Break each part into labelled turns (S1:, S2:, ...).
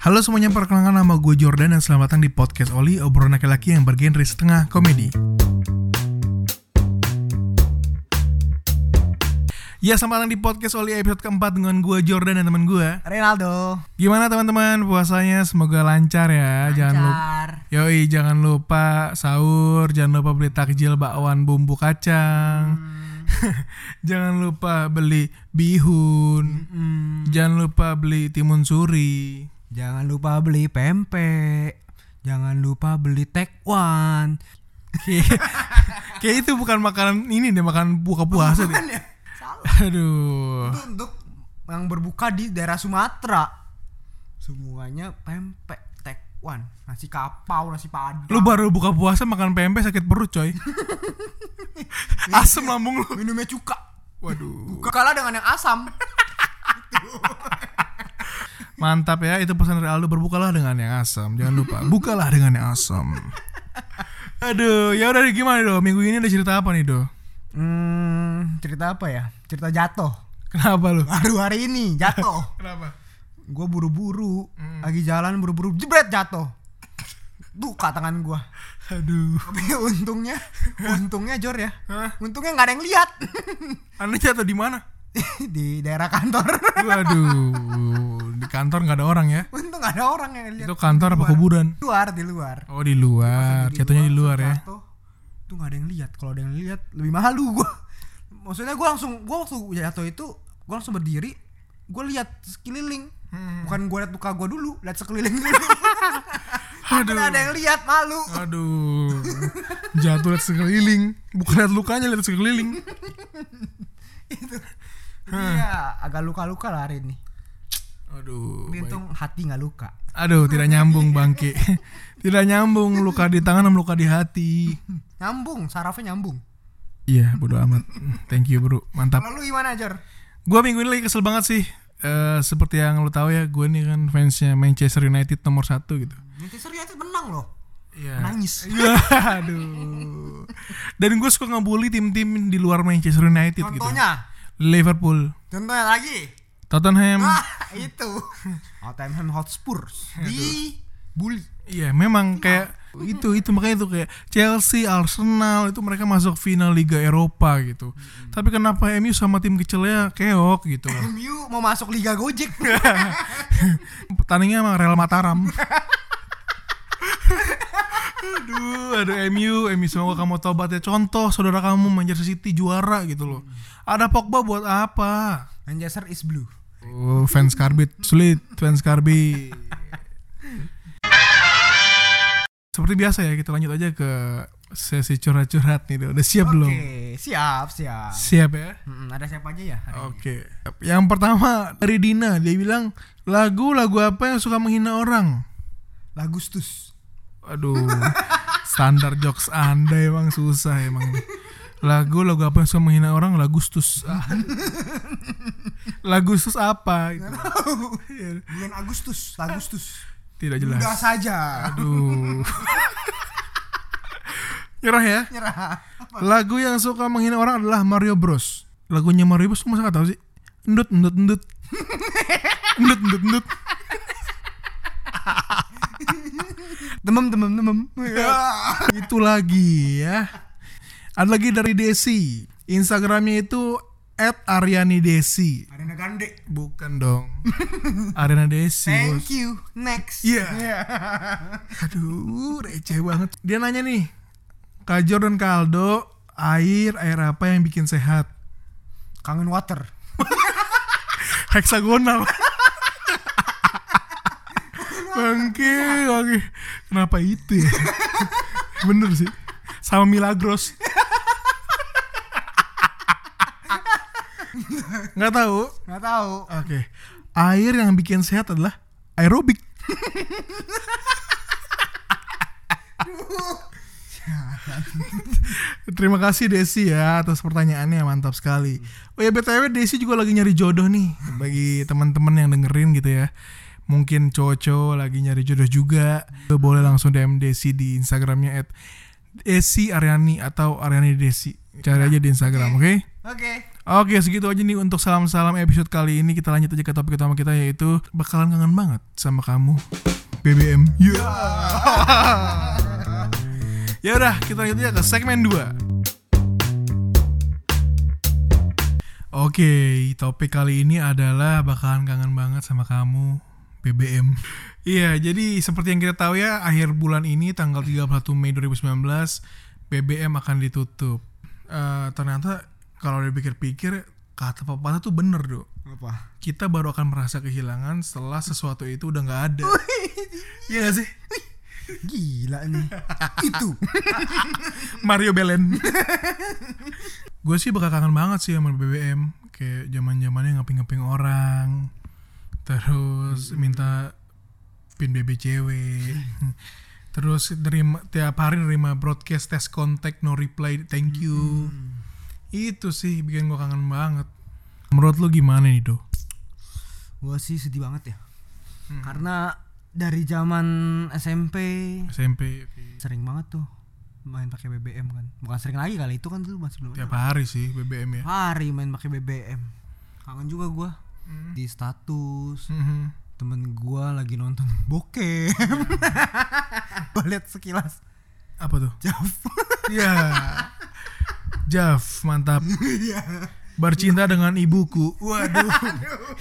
S1: Halo semuanya, perkenalkan nama gue Jordan dan selamat datang di podcast Oli, obrolan laki-laki yang bergenre setengah komedi. Ya, selamat datang di podcast Oli episode keempat dengan gue Jordan dan teman gue.
S2: Ronaldo.
S1: Gimana teman-teman puasanya? Semoga lancar ya. Jangan lupa Yoi, jangan lupa sahur, jangan lupa beli takjil bakwan bumbu kacang. jangan lupa beli bihun. Jangan lupa beli timun suri.
S2: Jangan lupa beli pempek. Jangan lupa beli tekwan.
S1: Kayak itu bukan makanan ini deh, makanan buka puasa deh.
S2: ya? Salah.
S1: Aduh.
S2: Itu untuk yang berbuka di daerah Sumatera. Semuanya pempek, tekwan, nasi kapau, nasi padang.
S1: Lu baru buka puasa makan pempek sakit perut, coy. Asem lambung lu.
S2: minumnya cuka.
S1: Waduh.
S2: Buka kalah dengan yang asam.
S1: Mantap ya, itu pesan dari Aldo berbukalah dengan yang asam. Jangan lupa, bukalah dengan yang asam. Aduh, ya udah deh, gimana do? Minggu ini ada cerita apa nih do?
S2: Hmm, cerita apa ya? Cerita jatuh.
S1: Kenapa lu?
S2: Baru hari ini jatuh. Hmm.
S1: Kenapa?
S2: gue buru-buru lagi jalan buru-buru jebret jatuh duka tangan gue
S1: Aduh,
S2: tapi untungnya untungnya jor ya
S1: Hah?
S2: untungnya nggak ada yang lihat
S1: anda jatuh di mana?
S2: di daerah kantor
S1: Waduh, di kantor nggak ada orang ya?
S2: untung nggak ada orang yang lihat
S1: Itu kantor apa kuburan?
S2: Di luar di luar
S1: Oh di luar, jatuhnya di luar ya?
S2: jatuh itu nggak ada yang lihat kalau ada yang lihat lebih malu gue maksudnya gue langsung gue waktu jatuh itu gue langsung berdiri gue lihat sekeliling
S1: Hmm.
S2: bukan gue lihat muka gue dulu lihat sekeliling dulu
S1: Aduh,
S2: Karena ada yang lihat malu
S1: aduh, jatuh lihat sekeliling, bukan lihat lukanya lihat sekeliling.
S2: Iya, agak luka-luka lah hari ini.
S1: Aduh,
S2: Tapi untung hati nggak luka.
S1: Aduh, tidak nyambung bangke. tidak nyambung luka di tangan sama luka di hati.
S2: Nyambung, sarafnya nyambung.
S1: Iya, bodo amat. Thank you, Bro. Mantap.
S2: Lalu gimana, Jor?
S1: Gua minggu ini lagi kesel banget sih. Eh, seperti yang lu tahu ya, gue nih kan fansnya Manchester United nomor satu gitu.
S2: Manchester United menang loh.
S1: Iya.
S2: Nangis.
S1: Aduh. Dan gue suka ngebully tim-tim di luar Manchester United gitu.
S2: Contohnya,
S1: Liverpool,
S2: contohnya lagi.
S1: Tottenham.
S2: Ah, itu. Tottenham Hotspur di bully.
S1: Iya, memang kayak itu itu makanya itu kayak Chelsea, Arsenal itu mereka masuk final Liga Eropa gitu. Tapi kenapa MU sama tim kecilnya keok gitu loh.
S2: MU mau masuk Liga Gojek.
S1: Pertandingannya sama Real Mataram. aduh, aduh MU, MU semoga kamu tobat ya. Contoh saudara kamu Manchester City juara gitu loh. Ada Pogba buat apa?
S2: Manchester is blue.
S1: Oh, fans Karbit sulit, fans Karbi. Seperti biasa ya, kita lanjut aja ke sesi curhat-curhat nih. Do. Udah siap
S2: Oke,
S1: belum?
S2: siap, siap.
S1: Siap ya.
S2: Mm, ada siapa aja ya? hari ini?
S1: Oke. Yang pertama dari Dina, dia bilang lagu-lagu apa yang suka menghina orang?
S2: Lagustus.
S1: Aduh. Standar jokes Anda emang susah emang. Lagu lagu apa yang suka menghina orang? Lagu stus. lagu stus apa? Gitu.
S2: Bulan Agustus, Lagustus.
S1: Tidak jelas.
S2: Udah saja.
S1: Aduh. Nyerah ya.
S2: Nyerah.
S1: Lagu yang suka menghina orang adalah Mario Bros. Lagunya Mario Bros lu masa gak tau sih? Endut, endut, endut. endut, endut, endut.
S2: Demem, demem, demem. Iya.
S1: Itu lagi ya. Ada lagi dari Desi. Instagramnya itu at Ariani Desi.
S2: Arena Gande.
S1: Bukan dong. Ariana Desi. bos.
S2: Thank you. Next.
S1: Iya.
S2: Iya.
S1: Aduh, receh banget. Dia nanya nih, Kak Jor dan Kak Aldo, air, air apa yang bikin sehat?
S2: Kangen water.
S1: heksagonal bangke bangke kenapa itu ya bener sih sama milagros nggak tahu
S2: Nggak tahu.
S1: oke air yang bikin sehat adalah aerobik Terima kasih Desi ya atas pertanyaannya mantap sekali. Oh ya btw Desi juga lagi nyari jodoh nih bagi teman-teman yang dengerin gitu ya. Mungkin cowok-cowok lagi nyari jodoh juga. Boleh langsung DM Desi di Instagramnya at Desi Aryani atau Aryani Desi. Cari aja di Instagram, oke?
S2: Oke.
S1: Oke segitu aja nih untuk salam-salam episode kali ini Kita lanjut aja ke topik utama kita yaitu Bakalan kangen banget sama kamu BBM Ya udah kita lanjut aja ke segmen 2 Oke, topik kali ini adalah bakalan kangen banget sama kamu, BBM. Iya, jadi seperti yang kita tahu ya, akhir bulan ini tanggal 31 Mei 2019 BBM akan ditutup. Eh, ternyata kalau dipikir-pikir kata pepatah tuh bener, Dok.
S2: Apa?
S1: Kita baru akan merasa kehilangan setelah sesuatu itu udah nggak ada. Iya gak sih?
S2: Gila nih. Itu.
S1: Mario Belen. gue sih bakal kangen banget sih sama BBM. Kayak zaman zamannya ngeping-ngeping orang. Terus minta pin BB cewek. Terus nerima, tiap hari nerima broadcast test contact no reply thank you. Itu sih bikin gue kangen banget. Menurut lu gimana nih, Do?
S2: Gua sih sedih banget ya. Karena dari zaman SMP
S1: SMP
S2: sering banget tuh main pakai BBM kan. Bukan sering lagi kali itu kan dulu masih belum.
S1: tiap hari sih BBM ya.
S2: Hari main pakai BBM. Kangen juga gua di status
S1: Mhm.
S2: temen gua lagi nonton bokep. gua lihat sekilas.
S1: Apa tuh?
S2: Jaf.
S1: Ya. Jaf, mantap.
S2: Iya.
S1: Bercinta dengan ibuku. Waduh.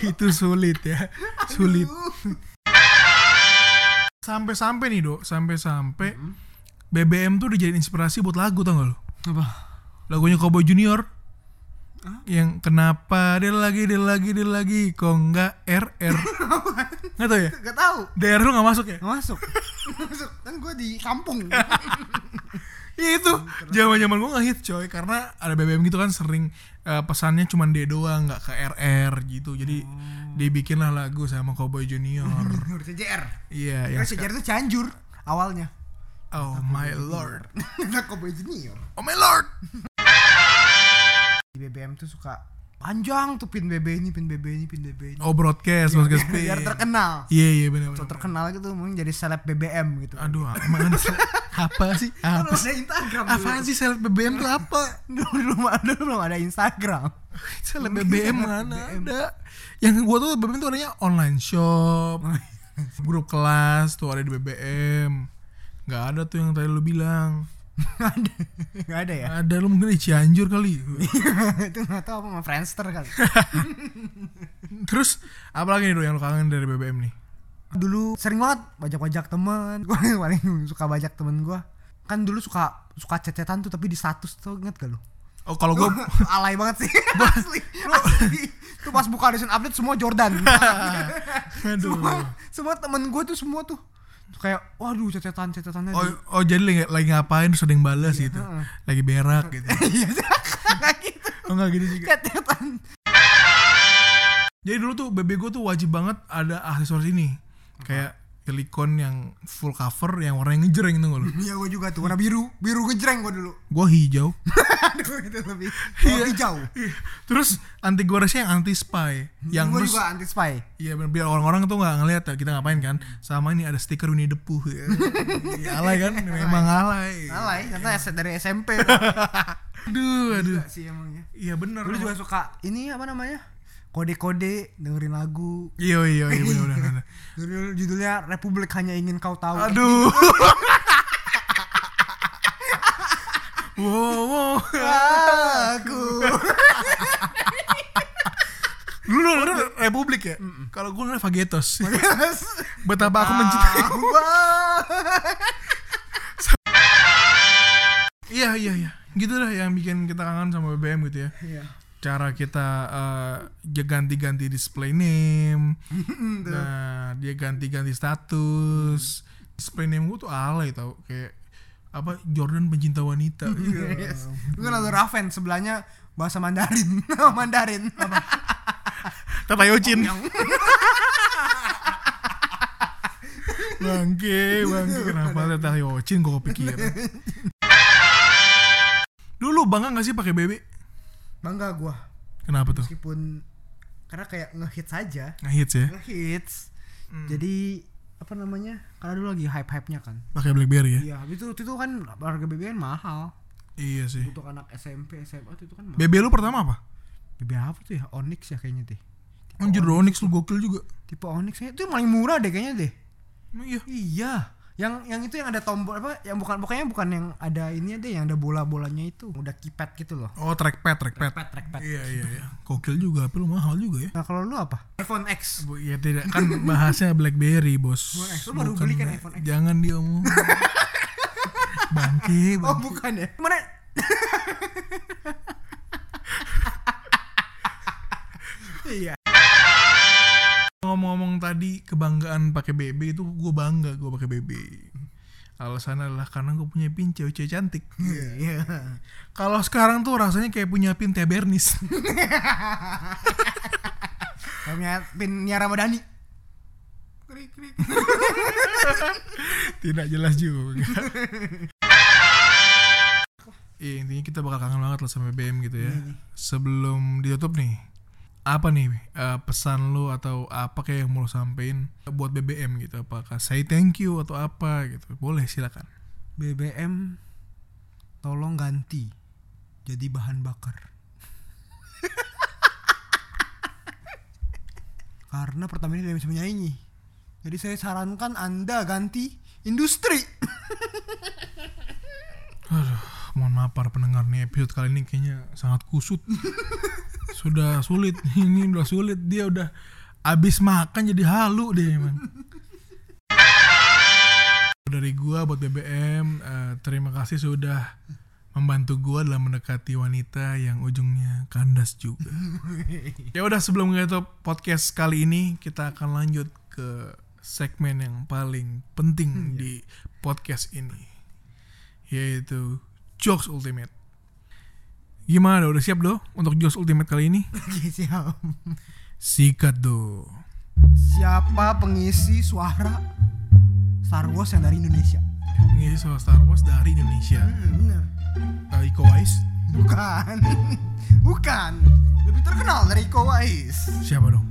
S1: itu sulit ya. Sulit. Sampai-sampai nih, Dok. Sampai-sampai BBM tuh dijadiin inspirasi buat lagu tau gak lo?
S2: Apa?
S1: Lagunya Cowboy Junior. Yang kenapa dia lagi dia lagi dia lagi kok nggak RR. Nggak tau ya?
S2: Gak tahu.
S1: DR lu nggak masuk ya?
S2: Nggak masuk. Nggak masuk. Kan gua di kampung.
S1: Ya itu
S2: Hmm,
S1: zaman-zaman gue ngehit coy karena ada BBM gitu kan sering eh, pesannya cuman D doang nggak ke RR gitu jadi
S2: Oh.
S1: dibikin lah lagu sama Cowboy Junior
S2: Menurut CJR.
S1: iya yang
S2: Kan CJR itu Cianjur awalnya.
S1: seka- oh my lord
S2: Nah, Cowboy Junior.
S1: oh my lord
S2: Di BBM tuh suka panjang tuh pin BB ini, pin BB ini, pin BB ini.
S1: oh broadcast broadcast pin.
S2: Iya, Biar terkenal.
S1: iya iya benar
S2: Atau
S1: benar
S2: terkenal gitu mungkin jadi seleb BBM gitu.
S1: aduh emang ada sel- apa sih
S2: Kan
S1: apa
S2: belum
S1: sih
S2: ada Instagram dulu.
S1: apaan sih seleb BBM tuh apa
S2: Dulu belum ada belum ada Instagram.
S1: seleb BBM mana ada yang gue tuh BBM tuh adanya online shop grup kelas tuh ada di BBM nggak ada tuh yang tadi lu bilang
S2: Nggak ada. Nggak ada ya.
S1: Ada lu mungkin di Cianjur kali.
S2: itu nggak tahu apa sama Friendster kali.
S1: Terus apalagi nih Do yang lu kangen dari BBM nih?
S2: dulu sering banget bajak-bajak temen gue paling suka bajak temen gue kan dulu suka suka cecetan tuh tapi di status tuh inget gak lu
S1: Oh kalau gue
S2: alay banget sih asli, asli. tuh pas buka recent update semua Jordan
S1: aduh.
S2: semua, semua temen gue tuh semua tuh Tuh kayak waduh cecetan cecetannya
S1: Oh, oh jadi lagi, lagi ngapain terus ada yang balas gitu.
S2: heeh.
S1: Lagi berak gitu.
S2: iya kayak gitu
S1: Oh enggak gitu juga.
S2: cecetan
S1: Jadi dulu tuh BB gue tuh wajib banget ada aksesoris ini. Kayak silikon yang full cover yang warnanya ngejreng tuh lu.
S2: iya gue juga tuh warna biru biru ngejreng gue dulu
S1: Gue hijau.
S2: aduh itu lebih oh, hijau
S1: terus anti goresnya yang anti spy. Yang
S2: gue
S1: terus
S2: Hmm, juga anti spy
S1: Iya bener, biar orang-orang tuh nggak ngelihat ya, kita ngapain kan sama ini ada stiker Winnie the Pooh ya. Ya, alay kan memang alay
S2: alay karena aset dari SMP
S1: aduh aduh
S2: Gila sih emangnya
S1: iya bener
S2: Dulu juga suka ini apa namanya? Kode-kode dengerin lagu.
S1: iya iya iya bener bener bener.
S2: Judul judulnya Republik hanya ingin kau tahu.
S1: aduh wow, wow.
S2: Aku.
S1: lu lu Republik ya kalau gue nonton Fagetos betapa aku
S2: Ah.
S1: mencintai iya iya iya gitu dah yang bikin kita kangen sama BBM gitu ya
S2: Iya.
S1: cara kita eh, dia ganti-ganti display name, nah dia ganti-ganti status, display name gue tuh alay tau kayak apa Jordan pencinta wanita, Iya.
S2: Yes. Gue lalu Raven sebelahnya bahasa Mandarin. Mandarin. Apa?
S1: Tata Yocin, bangke bangke kenapa Tata Yocin gue kepikiran. Dulu bangga gak sih pakai BB?
S2: Bangga gua
S1: Kenapa tuh?
S2: meskipun karena kayak ngehits aja.
S1: Ngehits ya,
S2: Ngehits. Hmm. Jadi apa namanya? Karena dulu lagi hype-hype-nya kan.
S1: pakai BlackBerry ya?
S2: Iya, habis itu waktu itu kan harga BBM mahal.
S1: Iya sih.
S2: Untuk anak SMP, SMA waktu itu kan mahal.
S1: BB lu pertama apa?
S2: BB BB apa tuh ya Onyx ya kayaknya deh
S1: Anjir Onyx lu gokil juga.
S2: tipe Onyx kayaknya itu yang paling murah deh kayaknya deh
S1: Emang iya.
S2: iya yang yang itu yang ada tombol apa yang bukan pokoknya bukan yang ada ini deh yang ada bola bolanya itu udah kipet gitu loh
S1: Oh trackpad trackpad.
S2: trackpad trackpad
S1: Iya iya iya. Gokil juga tapi lu mahal juga ya.
S2: nah kalau lu apa iPhone X
S1: Bu, ya tidak kan bahasnya BlackBerry bos.
S2: iPhone X. Lu baru
S1: Bukan
S2: beli kan
S1: Black-
S2: iPhone X?
S1: Jangan diomong. bangke,
S2: oh
S1: bang.
S2: bukan ya mana iya
S1: Ngomong-ngomong tadi kebanggaan pakai BB itu gue bangga gue pakai BB. Alasan adalah karena gue punya pin cewek-cewek cantik.
S2: iya
S1: Kalau sekarang tuh rasanya kayak punya pin Tabernis.
S2: punya pinnya Ramadhani
S1: Tidak jelas juga. Iya intinya kita bakal kangen banget lah sama BBM gitu ya. Sebelum ditutup nih, apa nih eh, pesan lu atau apa kayak yang mau lu sampein buat BBM gitu? Apakah say thank you atau apa gitu? Boleh silakan.
S2: BBM tolong ganti jadi bahan bakar. Karena Pertamina tidak bisa menyaingi. Jadi saya sarankan Anda ganti industri.
S1: Mohon maaf para pendengar nih episode kali ini kayaknya sangat kusut. sudah sulit ini udah sulit dia udah abis makan jadi halu deh man. Dari gua buat BBM eh, terima kasih sudah membantu gua dalam mendekati wanita yang ujungnya kandas juga. ya udah sebelum kita podcast kali ini kita akan lanjut ke segmen yang paling penting di podcast ini yaitu jokes ultimate. Gimana udah siap do untuk jokes ultimate kali ini?
S2: Oke, siap.
S1: Sikat do.
S2: Siapa pengisi suara Star Wars yang dari Indonesia?
S1: Ini soal Star Wars dari Indonesia.
S2: Benar.
S1: Dari Iko Uwais.
S2: Bukan. Bukan. Lebih terkenal dari Iko Uwais.
S1: Siapa dong?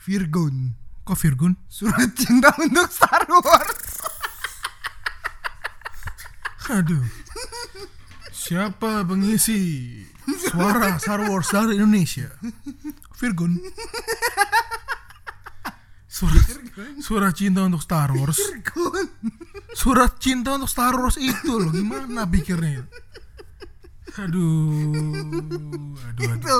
S2: Virgon.
S1: Kok Virgun?
S2: Surat cinta untuk Star Wars.
S1: Aduh. Siapa pengisi suara Star Wars dari Indonesia? Virgun. Surat, surat cinta untuk Star Wars.
S2: Virgon.
S1: Surat cinta untuk Star Wars itu loh. Gimana pikirnya? ya? Aduh. Aduh, aduh.
S2: Itu.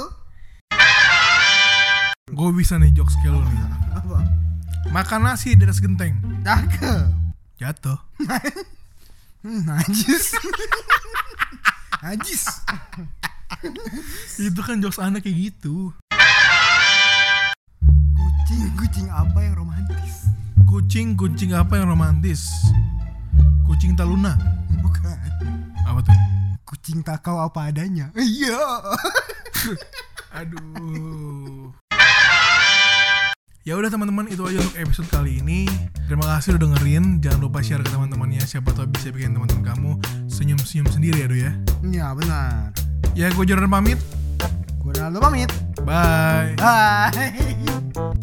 S1: Gue bisa nih jokes skill lo nih.
S2: Apa?
S1: Makan nasi di atas genteng.
S2: Cakep.
S1: Jatuh.
S2: Hmm, najis. najis.
S1: Itu kan jokes anak kayak gitu.
S2: Kucing, kucing apa yang romantis?
S1: Kucing kucing apa yang romantis? Kucing taluna.
S2: Bukan.
S1: Apa tuh?
S2: Kucing takau apa adanya. Iya.
S1: Aduh. Ya udah teman-teman itu aja untuk episode kali ini. Terima kasih udah dengerin. Jangan lupa share ke teman-temannya. Siapa tahu bisa bikin teman-teman kamu senyum-senyum sendiri ya, Do ya.
S2: Iya benar.
S1: Ya gue Jordan pamit.
S2: Gue Ronaldo pamit.
S1: Bye.
S2: Bye.